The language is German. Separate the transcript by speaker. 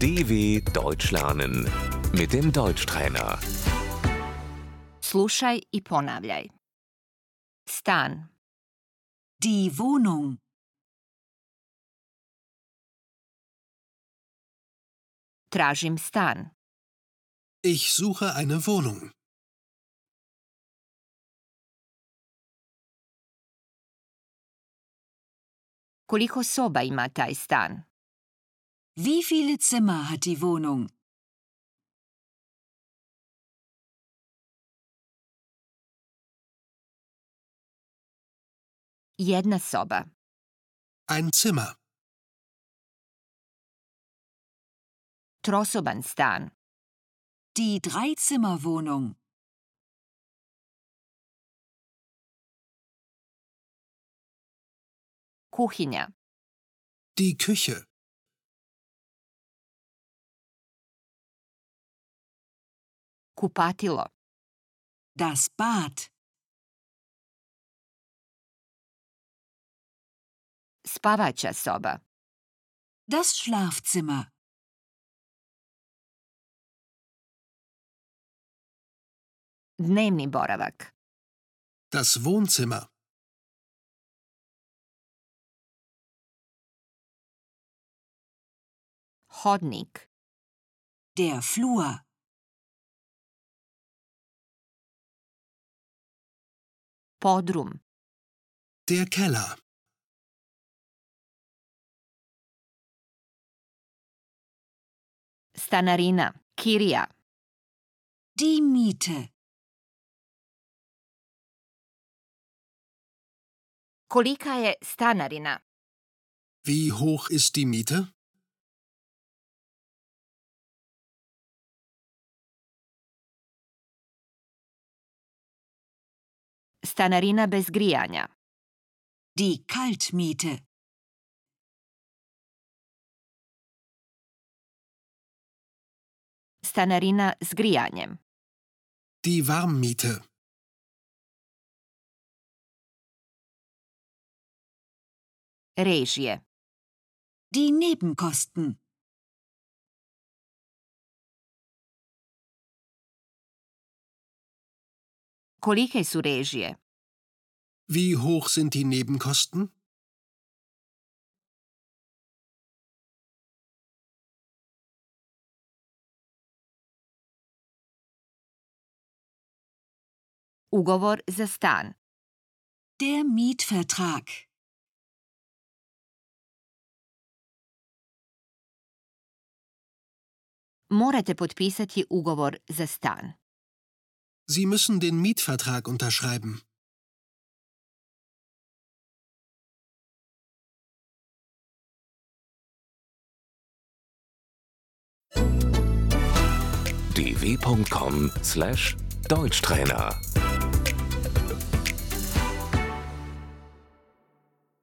Speaker 1: DW Deutsch lernen mit dem Deutschtrainer.
Speaker 2: Slušaj i ponavljaj. Stan,
Speaker 3: Die Wohnung.
Speaker 2: tražim stan.
Speaker 4: Ich suche eine Wohnung.
Speaker 2: Koliko soba ima taj stan?
Speaker 3: Wie viele Zimmer hat die Wohnung?
Speaker 2: Jedna soba.
Speaker 4: Ein Zimmer.
Speaker 2: Trosoban stan.
Speaker 3: Die Dreizimmerwohnung.
Speaker 2: Kuhinja,
Speaker 4: Die Küche.
Speaker 2: kupatilo,
Speaker 3: Das Bad.
Speaker 2: spavača soba,
Speaker 3: Das Schlafzimmer.
Speaker 2: dnevni boravak,
Speaker 4: Das Wohnzimmer.
Speaker 2: hodnik,
Speaker 3: Der Flur.
Speaker 2: podrum,
Speaker 4: Der Keller.
Speaker 2: stanarina, kirija,
Speaker 3: Die Miete.
Speaker 2: kolika je stanarina,
Speaker 4: Wie hoch ist die Miete?
Speaker 2: stanarina bez grijanja,
Speaker 3: Die Kaltmiete.
Speaker 2: stanarina s grijanjem,
Speaker 4: Die Warmmiete.
Speaker 2: režije,
Speaker 3: Die Nebenkosten.
Speaker 2: kolike su režije,
Speaker 4: Wie hoch sind die Nebenkosten?
Speaker 2: ugovor za stan.
Speaker 3: Der Mietvertrag.
Speaker 2: Morate potpisati ugovor za stan.
Speaker 4: Sie müssen den Mietvertrag unterschreiben.
Speaker 1: dw.com/deutschtrainer